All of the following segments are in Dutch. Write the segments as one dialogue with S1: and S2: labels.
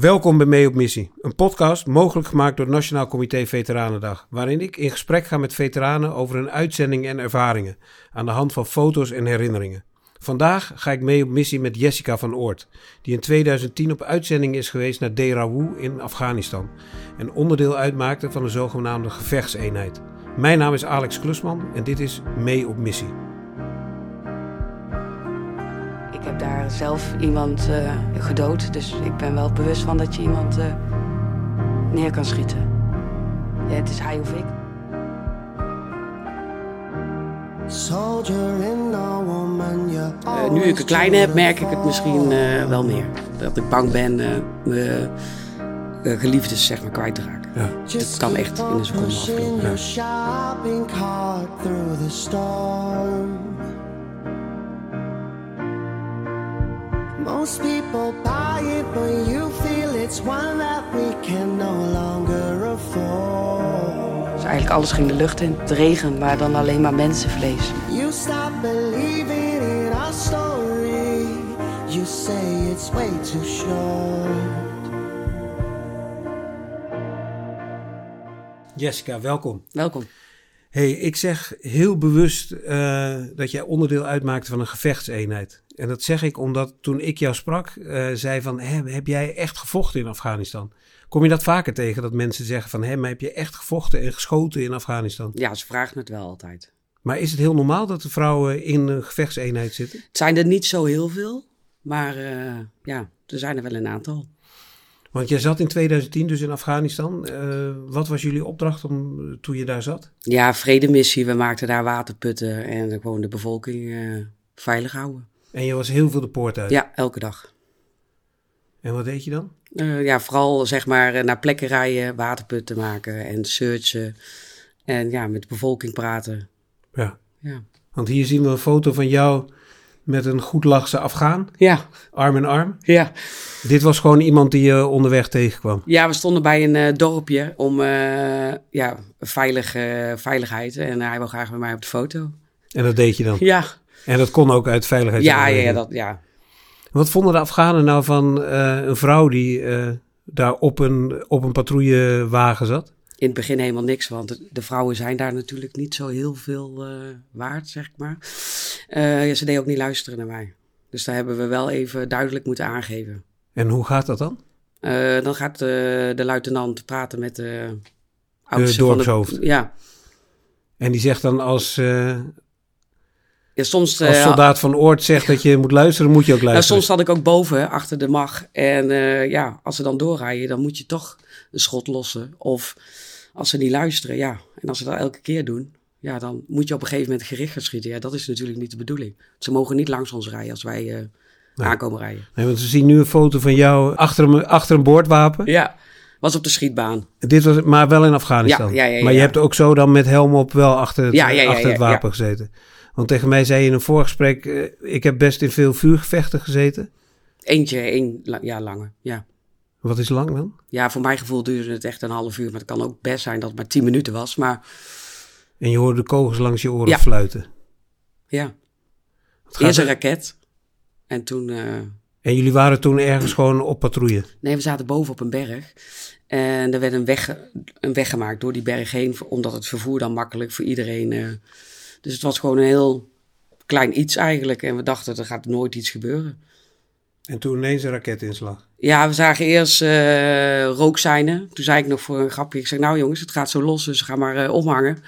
S1: Welkom bij Mee op Missie, een podcast mogelijk gemaakt door het Nationaal Comité Veteranendag, waarin ik in gesprek ga met veteranen over hun uitzendingen en ervaringen, aan de hand van foto's en herinneringen. Vandaag ga ik mee op missie met Jessica van Oort, die in 2010 op uitzending is geweest naar Derawu in Afghanistan en onderdeel uitmaakte van de zogenaamde gevechtseenheid. Mijn naam is Alex Klusman en dit is Mee op Missie.
S2: Ik heb daar zelf iemand eh, gedood, dus ik ben wel bewust van dat je iemand eh, neer kan schieten. Ja, het is hij of ik. Eh, nu ik een kleine heb, merk ik het misschien eh, wel meer. Dat ik bang ben eh, mijn eh, geliefdes zeg maar, kwijt te raken.
S1: Ja.
S2: Dat kan echt in een seconde aflopen.
S3: Your shopping cart through the storm. Most people buy it, but you feel it's one that we can no longer afford.
S2: Dus eigenlijk alles ging de lucht in. Het regen, maar dan alleen maar mensenvlees.
S3: You stop believing in our story. You say it's way too short.
S1: Jessica, welkom.
S2: Welkom.
S1: Hey, ik zeg heel bewust eh, dat jij onderdeel uitmaakte van een gevechtseenheid. En dat zeg ik omdat toen ik jou sprak, eh, zei van, hè, heb jij echt gevochten in Afghanistan? Kom je dat vaker tegen, dat mensen zeggen van, hè, maar heb je echt gevochten en geschoten in Afghanistan?
S2: Ja, ze vragen het wel altijd.
S1: Maar is het heel normaal dat de vrouwen in een gevechtseenheid zitten?
S2: Het zijn er niet zo heel veel, maar eh, ja, er zijn er wel een aantal.
S1: Want jij zat in 2010 dus in Afghanistan. Eh, wat was jullie opdracht om, toen je daar zat?
S2: Ja, vredemissie, we maakten daar waterputten en gewoon de bevolking eh, veilig houden.
S1: En je was heel veel de poort uit.
S2: Ja, elke dag.
S1: En wat deed je dan?
S2: Eh, ja, vooral zeg maar eh, naar plekken rijden, waterputten maken en searchen. En ja, met de bevolking praten.
S1: Ja.
S2: Ja,
S1: Want hier zien we een foto van jou met een goed lachse Afghaan.
S2: ja,
S1: Arm in arm.
S2: ja.
S1: Dit was gewoon iemand die je onderweg tegenkwam.
S2: ja we stonden bij een eh, dorpje om eh, ja, veilig, eh, veiligheid. En hij wil graag met mij op de foto.
S1: En dat deed je dan.
S2: Ja,
S1: En dat kon ook uit veiligheid.
S2: ja, ja, ja, dat, ja.
S1: Wat vonden de Afghanen nou van eh, een vrouw die eh, daar op een, op een patrouillewagen zat?
S2: in het begin helemaal niks, want de- de vrouwen zijn daar natuurlijk niet zo heel veel eh, waard, zeg ik maar. Eh, ja, ze deden ook niet luisteren naar mij. Dus daar hebben we wel even duidelijk moeten aangeven.
S1: En hoe gaat dat dan?
S2: Eh, dan gaat eh, de luitenant praten met de oudste
S1: dorpshoofd.
S2: ja.
S1: En die zegt dan als, eh,
S2: ja, soms... eh,
S1: als soldaat van Oort zegt dat je moet luisteren, moet je ook
S2: nou,
S1: luisteren.
S2: soms zat ik ook boven, achter de mag. En eh, ja, als ze dan doorrijden, dan moet je toch een schot lossen. Of als ze niet luisteren, ja. En als ze dat elke keer doen, ja, dan moet je op een gegeven moment gericht gaan schieten. Ja, dat is natuurlijk niet de bedoeling. Ze mogen niet langs ons rijden als wij eh, aankomen rijden.
S1: Nee, want ze zien nu een foto van jou achter een, achter een boordwapen.
S2: Ja, was op de schietbaan.
S1: Dit was maar wel in Afghanistan.
S2: Ja, ja, ja, ja,
S1: maar je
S2: ja.
S1: hebt ook zo dan met helm op wel achter het,
S2: Ja, ja, ja,
S1: achter het
S2: ja, ja.
S1: wapen gezeten. Want tegen mij zei je in een voorgesprek, eh, ik heb best in veel vuurgevechten gezeten.
S2: Eentje, één la- ja, langer, ja.
S1: Wat is lang dan?
S2: Ja, voor mijn gevoel duurde het echt een half uur. Maar het kan ook best zijn dat het maar tien minuten was. Maar
S1: En je hoorde de kogels langs je oren
S2: Ja.
S1: fluiten.
S2: ja,
S1: Wat gaat
S2: eerst een
S1: er?
S2: raket. En toen... eh,
S1: En jullie waren toen ergens gewoon op patrouille.
S2: nee, we zaten boven op een berg. En er werd een weg, een weg gemaakt door die berg heen. Omdat het vervoer dan makkelijk voor iedereen... eh, dus het was gewoon een heel klein iets eigenlijk. En we dachten, er gaat nooit iets gebeuren.
S1: En toen ineens een raketinslag.
S2: Ja, we zagen eerst eh rookzijnen. Toen zei ik nog voor een grapje, ik zeg nou jongens, het gaat zo los, dus ga maar eh, omhangen.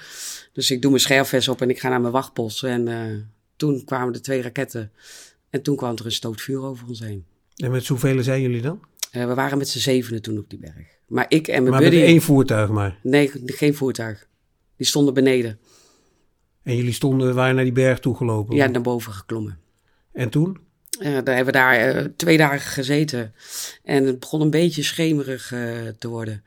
S2: Dus ik doe mijn scherfvest op en ik ga naar mijn wachtpost. En eh, toen kwamen de twee raketten en toen kwam er een stootvuur over ons heen.
S1: En met zoveel zijn jullie dan?
S2: Eh, we waren met z'n zevenen toen op die berg. Maar ik en mijn
S1: maar met
S2: buddy...
S1: één voertuig maar.
S2: Nee, geen voertuig. Die stonden beneden.
S1: En jullie stonden, waren naar die berg toegelopen.
S2: Ja, naar boven geklommen.
S1: En toen?
S2: Eh, daar hebben we daar eh, twee dagen gezeten. En het begon een beetje schemerig eh, te worden.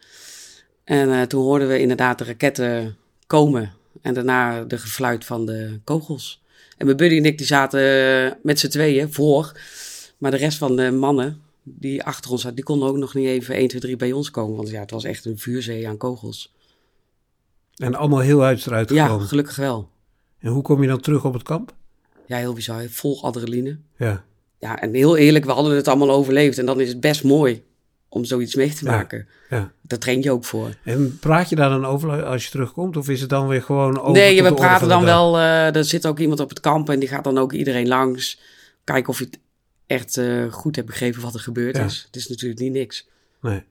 S2: En eh, toen hoorden we inderdaad de raketten komen. En daarna de gefluit van de kogels. En mijn buddy en ik die zaten eh, met z'n tweeën voor. Maar de rest van de mannen die achter ons zaten, die konden ook nog niet even 1, 2, 3 bij ons komen. Want ja, het was echt een vuurzee aan kogels.
S1: En allemaal heel uit eruit
S2: Ja,
S1: gekomen.
S2: gelukkig wel.
S1: En hoe kom je dan terug op het kamp?
S2: Ja, heel bizar. Vol adrenaline.
S1: Ja.
S2: Ja, en heel eerlijk, we hadden het allemaal overleefd. En dan is het best mooi om zoiets mee te maken.
S1: Ja. Oh,
S2: Daar train je ook voor.
S1: En praat je daar dan over als je terugkomt? Of is het dan weer gewoon over
S2: nee,
S1: tot
S2: we
S1: de orde van
S2: praten
S1: de
S2: dan
S1: dag?
S2: wel. eh, er zit ook iemand op het kamp en die gaat dan ook iedereen langs. Kijken of je het echt eh, goed hebt begrepen wat er gebeurd
S1: Ja.
S2: is. Het is natuurlijk niet niks.
S1: Nee.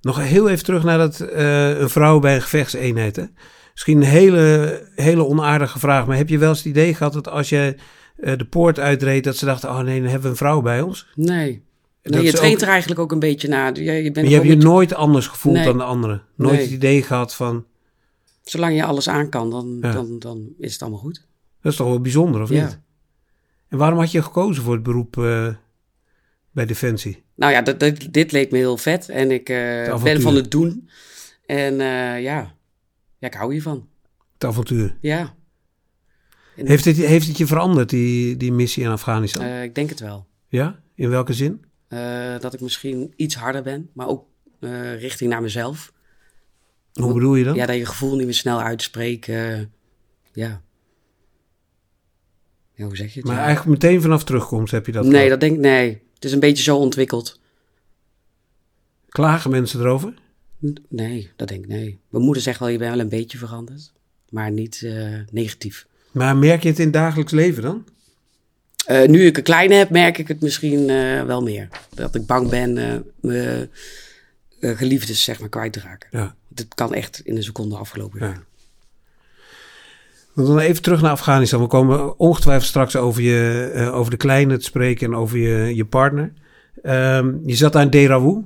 S1: Nog heel even terug naar dat eh, een vrouw bij een gevechtseenheid. Hè? Misschien een hele, hele onaardige vraag, maar heb je wel eens het idee gehad dat als je eh, de poort uitreed, dat ze dachten, oh nee, dan hebben we een vrouw bij ons?
S2: Nee.
S1: Dat
S2: nee je
S1: ze
S2: traint
S1: ook-
S2: er eigenlijk ook een beetje naar. Je, je bent
S1: Maar je hebt
S2: gewoon
S1: je
S2: niet-
S1: nooit anders gevoeld
S2: Nee.
S1: dan de anderen. Nooit
S2: Nee.
S1: het idee gehad van,
S2: Zolang je alles aan kan, dan,
S1: Ja.
S2: dan, dan is het allemaal goed.
S1: dat is toch wel bijzonder, of
S2: Ja.
S1: niet? En waarom had je gekozen voor het beroep eh, bij Defensie?
S2: Nou ja, dat, dat- dit leek me heel vet. En ik eh,
S1: avontuur.
S2: ben van het doen. En eh, ja. ja, ik hou hiervan.
S1: Het avontuur.
S2: Ja,
S1: Heeft het, heeft het je veranderd, die, die missie in Afghanistan?
S2: eh, ik denk het wel.
S1: ja? In welke zin?
S2: Eh, dat ik misschien iets harder ben, maar ook eh, richting naar mezelf.
S1: Hoe bedoel je dat?
S2: Ja, dat je gevoel niet meer snel uitspreekt. eh, ja. ja. Hoe zeg je het?
S1: maar
S2: Ja.
S1: eigenlijk meteen vanaf terugkomst heb je dat
S2: nee,
S1: gehad.
S2: dat denk ik nee. Het is een beetje zo ontwikkeld.
S1: Klagen mensen erover?
S2: N- Nee, dat denk ik nee. Mijn moeder zegt wel, je bent wel een beetje veranderd. Maar niet eh, negatief.
S1: Maar merk je het in het dagelijks leven dan?
S2: Eh, nu ik een kleine heb, merk ik het misschien eh, wel meer. Dat ik bang ben eh, mijn eh, geliefdes zeg maar, kwijt te raken.
S1: Ja.
S2: Dat kan echt in een seconde afgelopen
S1: Ja.
S2: zijn.
S1: Want Dan even terug naar Afghanistan. We komen ongetwijfeld straks over, je, eh, over de kleine te spreken en over je, je partner. Ehm, je zat daar in Derawu.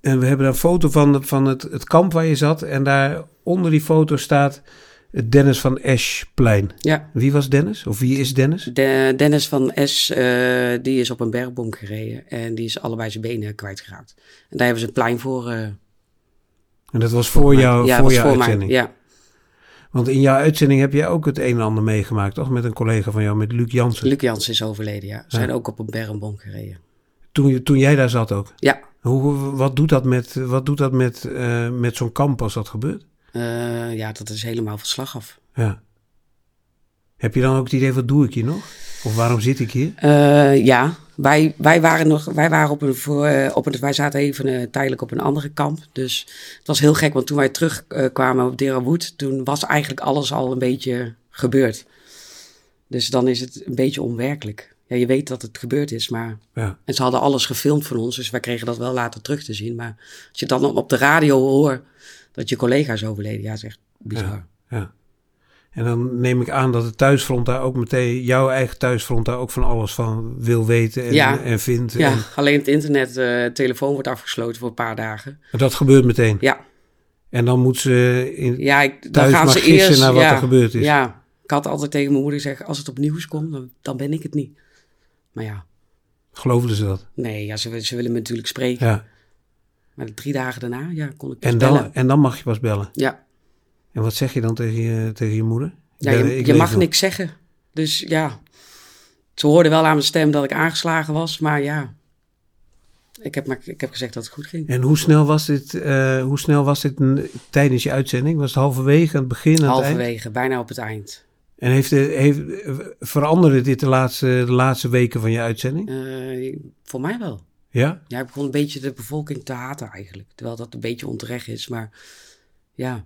S1: En we hebben daar een foto van, van het, het kamp waar je zat. En daar onder die foto staat het Dennis van Eschplein.
S2: Ja.
S1: Wie was Dennis? Of wie is Dennis?
S2: De- Dennis van S, eh, die is op een bergbom gereden en die is allebei zijn benen kwijtgeraakt. En daar hebben ze een plein voor. eh,
S1: En dat was voor, jou,
S2: ja,
S1: voor
S2: was
S1: jouw
S2: voor mij,
S1: uitzending.
S2: Ja,
S1: Want in jouw uitzending heb jij ook het een en ander meegemaakt, toch? Met een collega van jou, met Luc Jansen.
S2: Luc Jansen is overleden, ja. Zijn ook op een bergbom gereden.
S1: Toen, je- toen jij daar zat ook.
S2: Ja,
S1: Hoe, wat doet dat met, wat doet dat met, eh, met zo'n kamp als dat gebeurt?
S2: eh, ja, dat is helemaal van slag af.
S1: Ja. Heb je dan ook het idee, wat doe ik hier nog? Of waarom zit ik hier?
S2: Eh, ja, wij, wij waren nog, wij waren op een, voor, eh, op een, wij zaten even eh, tijdelijk op een andere kamp. Dus het was heel gek, want toen wij terugkwamen op Derawood, toen was eigenlijk alles al een beetje gebeurd. Dus dan is het een beetje onwerkelijk. Ja, je weet dat het gebeurd is, maar.
S1: Ja.
S2: En ze hadden alles gefilmd van ons, dus wij kregen dat wel later terug te zien. Maar als je dan op de radio hoort dat je collega is overleden, ja, dat is echt bizar.
S1: Ja. ja. En dan neem ik aan dat het thuisfront daar ook meteen, jouw eigen thuisfront daar ook van alles van wil weten en,
S2: Ja.
S1: en vindt.
S2: Ja,
S1: En-
S2: alleen het internet, eh telefoon wordt afgesloten voor een paar dagen.
S1: maar dat gebeurt meteen.
S2: Ja,
S1: En dan moet ze, in,
S2: ja ik,
S1: Thuis
S2: dan gaan
S1: mag
S2: ze
S1: gissen
S2: eerst...
S1: naar wat
S2: ja,
S1: er gebeurd is.
S2: Ja, ik had altijd tegen mijn moeder gezegd, als het op nieuws komt, dan, dan ben ik het niet. Maar ja,
S1: geloofden ze dat.
S2: nee, ja, ze, ze willen me natuurlijk spreken.
S1: Ja.
S2: Maar drie dagen daarna, ja, kon ik dus
S1: En, dan,
S2: bellen.
S1: en dan mag je pas bellen.
S2: Ja,
S1: En wat zeg je dan tegen je, tegen je moeder?
S2: ja
S1: Ik ben-
S2: je,
S1: ik
S2: je
S1: leef
S2: mag
S1: nog.
S2: niks zeggen. Dus ja, ze hoorden wel aan mijn stem dat ik aangeslagen was, maar ja. Ik heb, maar, ik heb gezegd dat het goed ging.
S1: En hoe snel was dit, eh, hoe snel was dit een- tijdens je uitzending? Was het halverwege, aan het begin, aan het eind?
S2: Halverwege, bijna op het eind.
S1: En heeft, de- heeft, veranderde dit de laatste, de laatste weken van je uitzending?
S2: Eh, voor mij wel.
S1: Ja?
S2: Ja, ik begon een beetje de bevolking te haten eigenlijk. Terwijl dat een beetje onterecht is, maar ja.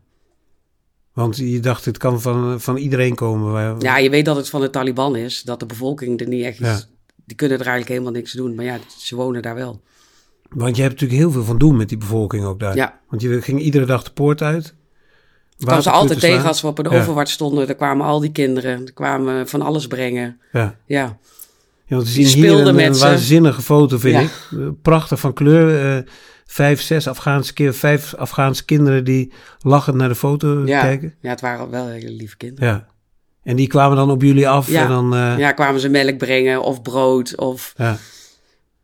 S1: Want je dacht, het kan van, van iedereen komen. Waar-
S2: Ja, je weet dat het van de Taliban is, dat de bevolking er niet echt is.
S1: Ja.
S2: Die kunnen er eigenlijk helemaal niks doen, maar ja, ze wonen daar wel.
S1: Want je hebt natuurlijk heel veel van doen met die bevolking ook daar.
S2: Ja.
S1: Want je ging iedere dag de poort uit.
S2: Ik kwam ze altijd tegen als we op een
S1: Ja.
S2: overwart stonden. Daar kwamen al die kinderen, er kwamen van alles brengen.
S1: Ja.
S2: Ja,
S1: Ja, want we
S2: Die
S1: zien hier
S2: speelden
S1: een,
S2: met
S1: een
S2: ze.
S1: waanzinnige foto, vind
S2: Ja.
S1: ik. Eh, Prachtig van kleur. eh, vijf, zes Afghaanse, keer, vijf Afghaanse kinderen die lachend naar de foto
S2: ja.
S1: kijken.
S2: ja het waren wel hele lieve kinderen.
S1: Ja. En die kwamen dan op jullie af.
S2: Ja.
S1: En dan, eh,
S2: Ja. kwamen ze melk brengen of brood of...
S1: ja.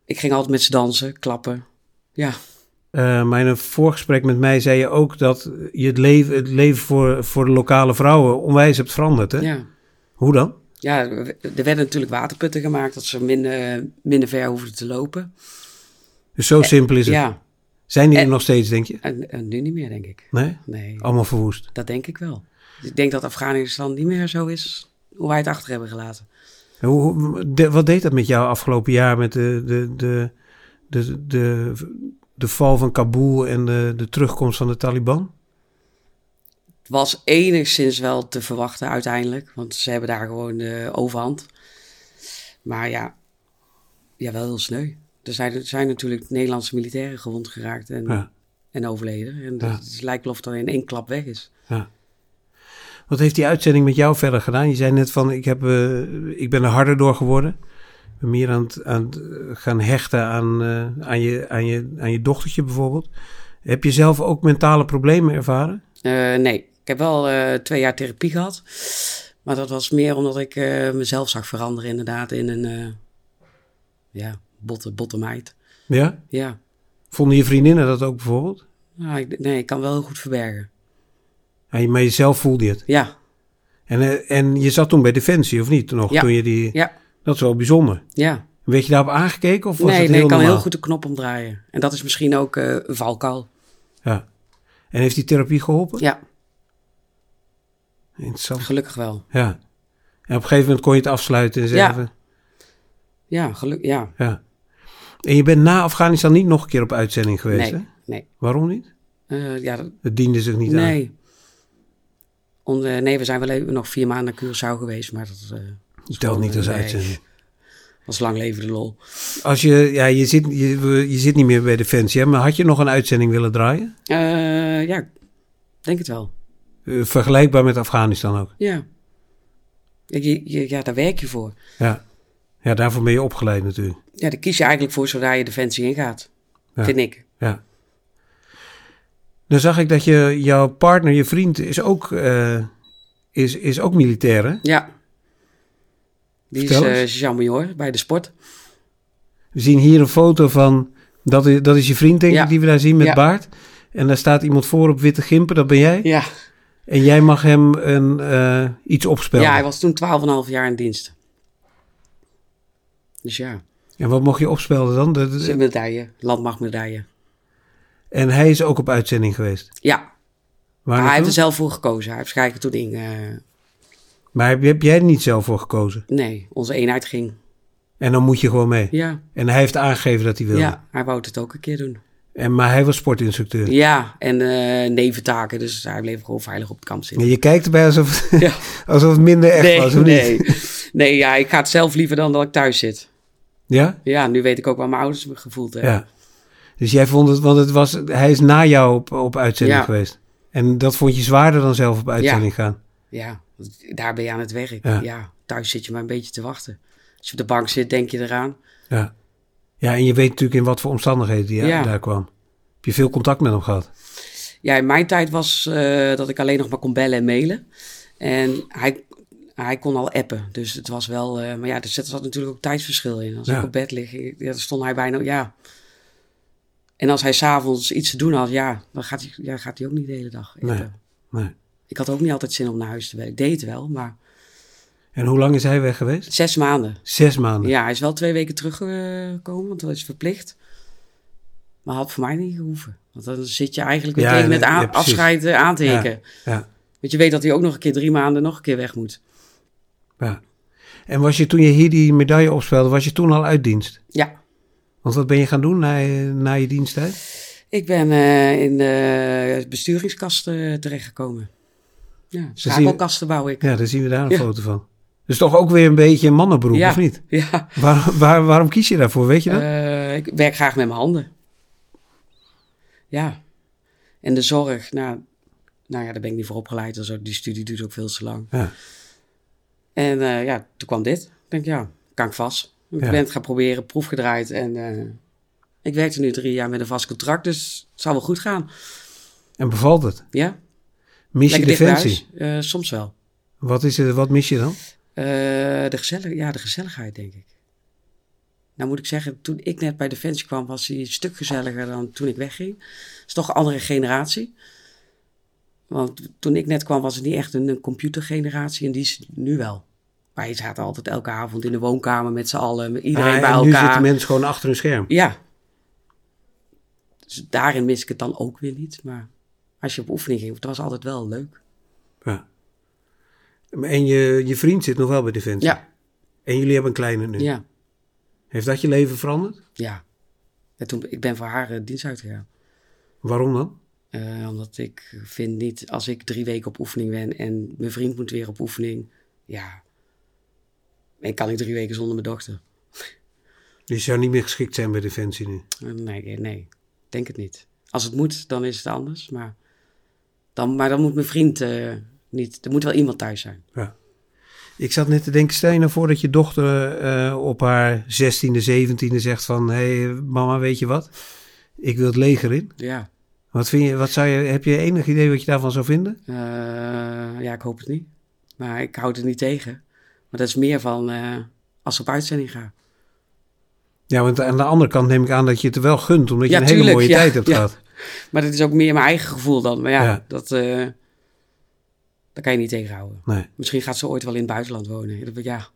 S2: Ik ging altijd met ze dansen, klappen. Ja,
S1: Eh, maar in een voorgesprek met mij zei je ook dat je het leven, het leven voor, voor de lokale vrouwen onwijs hebt veranderd. Hè?
S2: ja.
S1: Hoe dan?
S2: Ja, er werden natuurlijk waterputten gemaakt, dat ze minder, minder ver hoefden te lopen.
S1: Dus zo simpel is het.
S2: Eh, Ja, Eh,
S1: Zijn die er
S2: En-
S1: nog steeds, denk je?
S2: en, en nu niet meer, denk ik.
S1: Nee?
S2: Nee,
S1: Allemaal verwoest.
S2: dat denk ik wel. Dus ik denk dat Afghanistan niet meer zo is hoe wij het achter hebben gelaten.
S1: En Hoe, hoe- de- wat deed dat met jou afgelopen jaar met de, de, de, de, de, de val van Kabul en de, de terugkomst van de Taliban?
S2: Het was enigszins wel te verwachten uiteindelijk, want ze hebben daar gewoon de overhand. Maar ja, ja wel heel sneu. Er zijn, er zijn natuurlijk Nederlandse militairen gewond geraakt en,
S1: Ja.
S2: en overleden. En
S1: Ja.
S2: het lijkt wel of dat in één klap weg is.
S1: Ja. Wat heeft die uitzending met jou verder gedaan? Je zei net van, ik, heb, eh, ik ben er harder door geworden. Ik ben meer aan het, aan het eh, gaan hechten aan, eh, aan, je, aan, je, aan je dochtertje bijvoorbeeld. Heb je zelf ook mentale problemen ervaren?
S2: Eh, nee, ik heb wel eh, twee jaar therapie gehad. Maar dat was meer omdat ik eh, mezelf zag veranderen inderdaad in een eh, ja, botte, botte meid.
S1: Ja?
S2: Ja,
S1: Vonden je vriendinnen dat ook bijvoorbeeld?
S2: Nou, ik, nee, ik kan wel heel goed verbergen.
S1: Ja, je- maar jezelf voelde je het.
S2: Ja,
S1: En, eh, en je zat toen bij Defensie, of niet? Nog,
S2: Ja.
S1: toen je die...
S2: ja,
S1: Dat is wel bijzonder.
S2: ja.
S1: Werd je daarop aangekeken of was
S2: Nee,
S1: het
S2: nee,
S1: heel
S2: ik kan
S1: normaal?
S2: heel goed de knop omdraaien. En dat is misschien ook eh, een valkuil.
S1: Ja. En heeft die therapie geholpen?
S2: Ja,
S1: Interessant.
S2: gelukkig wel.
S1: Ja. En op een gegeven moment kon je het afsluiten en zeggen...
S2: Ja.
S1: van-
S2: Ja, geluk, ja.
S1: Ja. En je bent na Afghanistan niet nog een keer op uitzending geweest,
S2: Nee,
S1: hè?
S2: nee.
S1: Waarom niet?
S2: Eh, ja, dat-
S1: Het diende zich niet aan.
S2: nee. Om, eh, nee, we zijn wel even, nog vier maanden naar Curaçao geweest, maar dat eh,
S1: Het telt niet als
S2: Nee.
S1: uitzending.
S2: was lang leven de lol.
S1: Als je, ja, je zit, je, we- je zit niet meer bij Defensie, hè? Maar had je nog een uitzending willen draaien?
S2: Eh, ja, ik denk het wel.
S1: Eh, vergelijkbaar met Afghanistan ook.
S2: Ja. Je, je- ja, daar werk je voor.
S1: Ja. Ja, daarvoor ben je opgeleid natuurlijk.
S2: Ja, daar kies je eigenlijk voor zodra je defensie ingaat.
S1: Ja.
S2: Vind ik.
S1: Ja. Dan zag ik dat je, jouw partner, je vriend, is ook, eh, is, is ook militair, hè?
S2: Ja. Die
S1: Vertel
S2: is eh
S1: eens.
S2: Jean Major bij de sport.
S1: We zien hier een foto van, dat is, dat is je vriend denk
S2: Ja.
S1: ik, die we daar zien met
S2: Ja.
S1: baard. En daar staat iemand voor op witte gimpen, dat ben jij.
S2: Ja.
S1: En jij mag hem een, eh, iets opspelen.
S2: Ja, hij was toen 12,5 jaar in dienst. Dus ja,
S1: En wat mocht je opspelen dan? De- de-
S2: ze medaille, landmachtmedaille.
S1: en hij is ook op uitzending geweest.
S2: Ja,
S1: Waar
S2: maar Ah, hij heeft
S1: naartoe?
S2: er zelf voor gekozen. Hij heeft waarschijnlijk toen in, eh,
S1: Maar heb, heb jij er niet zelf voor gekozen?
S2: nee, onze eenheid ging.
S1: En dan moet je gewoon mee.
S2: Ja,
S1: En hij heeft aangegeven dat hij wilde.
S2: ja, hij wou het ook een keer doen.
S1: En, maar hij was sportinstructeur.
S2: Ja, en eh, neventaken, dus hij bleef gewoon veilig op het kamp
S1: Ja,
S2: zitten.
S1: Je kijkt erbij alsof,
S2: Ja.
S1: alsof het minder echt
S2: Nee,
S1: was, of
S2: nee.
S1: niet?
S2: nee ja, ik ga het zelf liever dan dat ik thuis zit.
S1: Ja?
S2: Ja, nu weet ik ook waar mijn ouders me gevoeld hebben.
S1: Ja. Dus jij vond het, want het was, hij is na jou op, op uitzending
S2: Ja.
S1: geweest. En dat vond je zwaarder dan zelf op uitzending gaan.
S2: Ja, want daar ben je aan het werk.
S1: Ja.
S2: Ja. thuis zit je maar een beetje te wachten. Als je op de bank zit, denk je eraan.
S1: Ja. Ja, en je weet natuurlijk in wat voor omstandigheden die
S2: Ja.
S1: daar kwam. Heb je veel contact met hem gehad?
S2: Ja, in mijn tijd was eh, dat ik alleen nog maar kon bellen en mailen. En hij, hij kon al appen. Dus het was wel... eh, maar ja, er zat zat natuurlijk ook tijdsverschil in. Als
S1: Ja.
S2: ik op bed lig, ik- ja, dan stond hij bijna... Ja. En als hij s'avonds iets te doen had, ja, dan gaat hij, ja, gaat hij ook niet de hele dag appen.
S1: Nee. Nee.
S2: Ik had ook niet altijd zin om naar huis te werken. Ik deed het wel, maar
S1: En hoe lang is hij weg geweest?
S2: zes maanden.
S1: Zes maanden.
S2: Ja, hij is wel twee weken teruggekomen, want dat is verplicht. Maar had voor mij niet gehoeven. Want dan zit je eigenlijk weer
S1: Ja,
S2: tegen
S1: nee,
S2: het a-
S1: ja, precies.
S2: afscheid eh, aan te
S1: Ja.
S2: hikken.
S1: Ja.
S2: Want je weet dat hij ook nog een keer drie maanden nog een keer weg moet.
S1: ja. En was je toen je hier die medaille opspelde, was je toen al uit dienst?
S2: Ja,
S1: Want wat ben je gaan doen na je, na je diensttijd?
S2: ik ben eh, in de besturingskast eh, terechtgekomen. Ja,
S1: zie je-
S2: schakelkasten bouw ik.
S1: Ja, daar zien we daar een
S2: Ja.
S1: foto van. Dus toch ook weer een beetje een mannenberoep,
S2: ja,
S1: of niet?
S2: Ja,
S1: Waar, waar, waarom kies je daarvoor, weet je dat?
S2: Eh, ik werk graag met mijn handen. Ja. En de zorg, nou, nou ja, daar ben ik niet voor opgeleid. en zo. die studie duurt ook veel te lang.
S1: Ja.
S2: En eh, ja, toen kwam dit. Ik denk, ja, kan ik vast. Ik
S1: Ja.
S2: ben het gaan proberen, proef gedraaid. En eh, ik werkte nu drie jaar met een vast contract, dus het zal wel goed gaan.
S1: En bevalt het?
S2: Ja,
S1: Mis je
S2: lekker dicht bij
S1: defensie?
S2: huis. Eh, soms wel.
S1: Wat, is het, wat mis je dan?
S2: Eh, de, gezellig, ja, de gezelligheid, denk ik. Nou moet ik zeggen, toen ik net bij Defensie kwam, was hij een stuk gezelliger dan toen ik wegging. Het is toch een andere generatie. Want toen ik net kwam, was het niet echt een, een computergeneratie. En die is nu wel. Wij zaten altijd elke avond in de woonkamer met z'n allen. met Iedereen
S1: Ah,
S2: bij
S1: en
S2: elkaar.
S1: nu zitten mensen gewoon achter hun scherm.
S2: Ja. Dus daarin mis ik het dan ook weer niet. Maar als je op oefening ging, het was altijd wel leuk.
S1: Ja. En je, je vriend zit nog wel bij Defensie.
S2: Ja,
S1: En jullie hebben een kleine nu.
S2: ja,
S1: Heeft dat je leven veranderd?
S2: ja. En toen, ik ben voor haar eh, dienst uitgegaan.
S1: Waarom dan?
S2: Eh, omdat ik vind niet, als ik drie weken op oefening ben en mijn vriend moet weer op oefening, ja, dan kan ik drie weken zonder mijn dochter.
S1: Die zou niet meer geschikt zijn bij Defensie nu.
S2: Eh, Nee, nee, nee, denk het niet. Als het moet, dan is het anders, maar dan, maar dan moet mijn vriend eh, niet, er moet wel iemand thuis zijn.
S1: Ja. Ik zat net te denken, stel je nou voor dat je dochter eh, op haar 16e, 17e zegt van... Hé hey, mama, weet je wat? Ik wil het leger in.
S2: Ja,
S1: Wat vind je, wat zou je, heb je enig idee wat je daarvan zou vinden?
S2: eh, ja, ik hoop het niet. Maar ik houd het niet tegen. Maar dat is meer van eh, als ik op uitzending ga.
S1: Ja, want aan de andere kant neem ik aan dat je het er wel gunt, omdat je
S2: Ja,
S1: een hele
S2: tuurlijk,
S1: mooie
S2: ja,
S1: tijd hebt
S2: ja.
S1: gehad.
S2: Maar dat is ook meer mijn eigen gevoel dan. Maar ja,
S1: Ja.
S2: dat, eh dat kan je niet tegenhouden.
S1: Nee,
S2: Misschien gaat ze ooit wel in het buitenland wonen. Dat- Ja,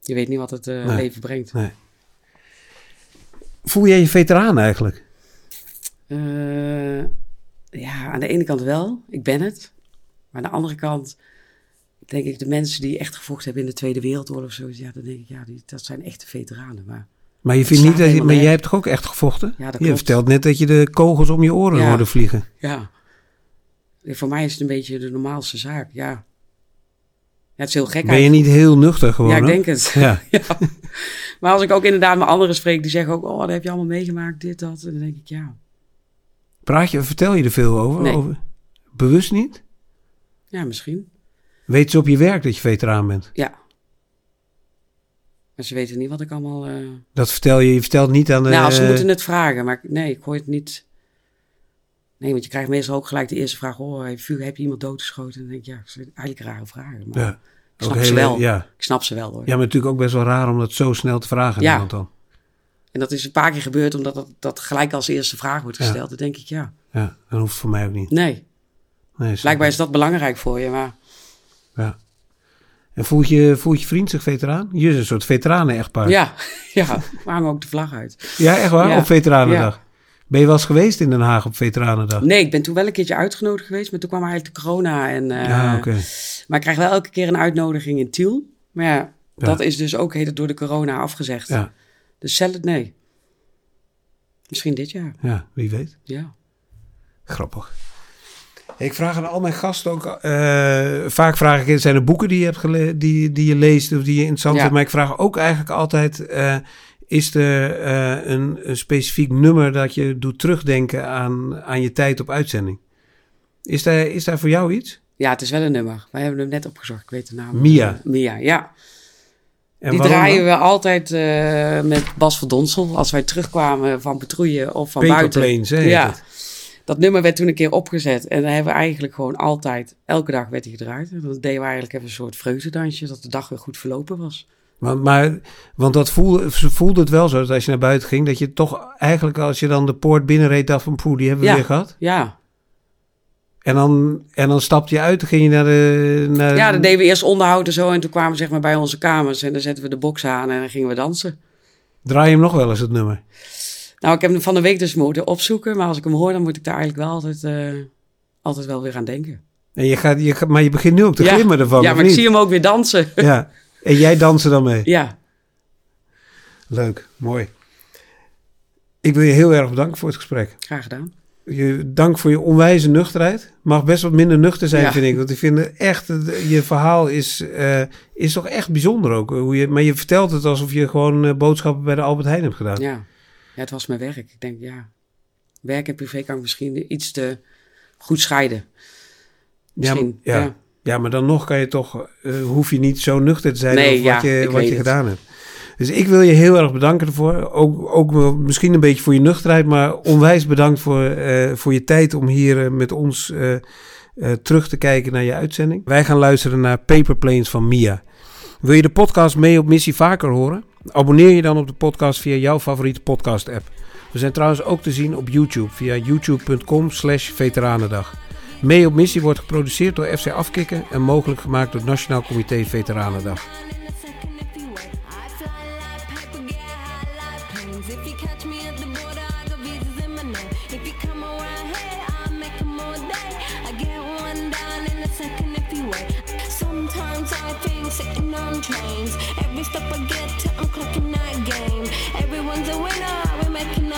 S2: je weet niet wat het eh,
S1: Nee.
S2: leven brengt.
S1: nee. Voel jij je veteraan eigenlijk?
S2: Eh, ja, aan de ene kant wel, ik ben het. Maar aan de andere kant denk ik de mensen die echt gevochten hebben in de Tweede Wereldoorlog of zo. Ja, dan denk ik, ja, die, dat zijn echte veteranen. Maar
S1: Maar je
S2: Het
S1: vindt niet
S2: slaat
S1: dat je,
S2: helemaal
S1: maar jij
S2: nergens.
S1: hebt toch ook echt gevochten?
S2: Ja, dat
S1: je
S2: klopt.
S1: vertelt net dat je de kogels om je oren
S2: Ja.
S1: hoorde vliegen.
S2: Ja. Ja, Voor mij is het een beetje de normaalste zaak, ja. ja het is heel gek
S1: Ben je niet heel nuchter gewoon?
S2: Ja, ik
S1: hè?
S2: denk het.
S1: Ja.
S2: Ja. Maar als ik ook inderdaad met anderen spreek, die zeggen ook... Oh, dat heb je allemaal meegemaakt, dit, dat. En dan denk ik, ja.
S1: Praat je, vertel je er veel over?
S2: Nee.
S1: over? Bewust niet?
S2: Ja, misschien.
S1: Weet ze op je werk dat je veteraan bent?
S2: Ja. Maar ze weten niet wat ik allemaal... eh,
S1: Dat vertel je, je vertelt niet aan de...
S2: Nou, ze moeten het vragen, maar ik- nee, ik hoor het niet... Nee, want je krijgt meestal ook gelijk de eerste vraag... Oh, heb je, heb je iemand doodgeschoten? En dan denk ik, ja, dat zijn eigenlijk rare vragen. Maar
S1: Ja,
S2: ik
S1: ook
S2: snap ze
S1: hele-
S2: wel.
S1: Ja.
S2: Ik snap ze wel, hoor.
S1: ja, maar natuurlijk ook best wel raar om dat zo snel te vragen aan
S2: Ja.
S1: iemand dan.
S2: En dat is een paar keer gebeurd, omdat dat, dat gelijk als eerste vraag wordt
S1: Ja.
S2: gesteld. Dan denk ik, ja,
S1: Ja, dat hoeft voor mij ook niet.
S2: nee.
S1: Nee, snap
S2: Blijkbaar is dat belangrijk voor je, maar...
S1: ik. Ja. En voelt je, voelt je vriend zich veteraan? Je is een soort veteranen-echtpaar.
S2: Ja, ja, we hangen ook de vlag uit.
S1: Ja, echt waar?
S2: Ja.
S1: Op Veteranendag. Ben je wel eens geweest in Den Haag op Veteranendag?
S2: Nee, ik ben toen wel een keertje uitgenodigd geweest, maar toen kwam eigenlijk de corona. En, eh,
S1: ja, oké.
S2: Maar ik krijg wel elke keer een uitnodiging in Tiel. Maar ja, dat is dus ook heden door de corona afgezegd.
S1: Ja,
S2: Dus stel het nee. Misschien dit jaar,
S1: ja, wie weet.
S2: ja.
S1: Grappig. Ik vraag aan al mijn gasten ook. eh, vaak vraag ik: zijn er boeken die je, hebt gele- die, die je leest of die je interessant
S2: Ja.
S1: vindt? Maar ik vraag ook eigenlijk altijd: eh, is er eh, een, een specifiek nummer dat je doet terugdenken aan, aan je tijd op uitzending? Is daar, is daar voor jou iets?
S2: Ja, het is wel een nummer. Wij hebben hem net opgezocht, ik weet de naam.
S1: Mia.
S2: Mia, ja.
S1: En
S2: Die
S1: waarom
S2: draaien
S1: dan?
S2: we altijd eh, met Bas van Donsel. Als wij terugkwamen van patrouille of van
S1: Paper
S2: buiten.
S1: Planes, hè, heet
S2: ja.
S1: het.
S2: Dat nummer werd toen een keer opgezet. En dan hebben we eigenlijk gewoon altijd, elke dag werd hij gedraaid. En dan deden we eigenlijk even een soort vreugdedansje. Dat de dag weer goed verlopen was.
S1: Want, maar, want dat voelde, ze voelde het wel zo dat als je naar buiten ging, dat je toch eigenlijk als je dan de poort binnenreed, dacht van poeh, die hebben we
S2: Ja.
S1: weer gehad.
S2: Ja,
S1: En dan, en dan stapte je uit, dan ging je naar de. Naar
S2: ja dan deden we eerst onderhoud en zo. En toen kwamen we zeg maar bij onze kamers. En dan zetten we de box aan en dan gingen we dansen.
S1: Draai je hem nog wel eens het nummer?
S2: Nou, ik heb hem van de week dus moeten opzoeken. Maar als ik hem hoor, dan moet ik daar eigenlijk wel altijd, eh, altijd wel weer aan denken.
S1: En je gaat, je gaat, maar je begint nu ook te
S2: ja.
S1: glimmen ervan.
S2: Ja,
S1: of
S2: maar ik
S1: niet?
S2: zie hem ook weer dansen.
S1: Ja. En jij danst er dan mee.
S2: ja,
S1: Leuk, mooi. Ik wil je heel erg bedanken voor het gesprek.
S2: graag gedaan.
S1: Je, dank voor je onwijze nuchterheid. Mag best wat minder nuchter zijn,
S2: Ja.
S1: vind ik. Want ik vind het echt, het- je verhaal is, eh, is toch echt bijzonder ook. eh, Hoe je, maar je vertelt het alsof je gewoon eh, boodschappen bij de Albert Heijn hebt gedaan.
S2: Ja. ja, het was mijn werk. Ik denk, ja, werk en privé kan ik misschien iets te goed scheiden.
S1: maar-
S2: Misschien,
S1: ja.
S2: ja.
S1: Ja, maar dan nog kan je toch, eh, hoef je niet zo nuchter te zijn
S2: Nee,
S1: over wat
S2: ja,
S1: je,
S2: ik
S1: wat
S2: weet
S1: je
S2: het.
S1: gedaan hebt. Dus ik wil je heel erg bedanken ervoor. Ook, ook wel misschien een beetje voor je nuchterheid, maar onwijs bedankt voor, eh, voor je tijd om hier eh, met ons eh, eh, terug te kijken naar je uitzending. Wij gaan luisteren naar Paper Planes van Mia. Wil je de podcast mee op missie vaker horen? Abonneer je dan op de podcast via jouw favoriete podcast app. We zijn trouwens ook te zien op YouTube via youtube.com slash veteranendag. Mee op missie wordt geproduceerd door FC Afkikken en mogelijk gemaakt door het Nationaal Comité Veteranendag.
S4: If you catch me at the border, I got visas in my name. If you come around here, I'll make 'em all day. I get one down in a second if you wait. Sometimes I think sitting on trains. Every stop I get to, I'm clocking that game. Everyone's a winner, we're making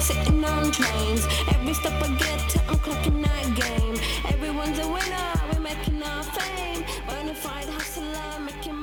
S4: sitting on planes. Every step I get to, I'm clocking that game. Everyone's a winner, we're making our fame. Bonafide hustler, making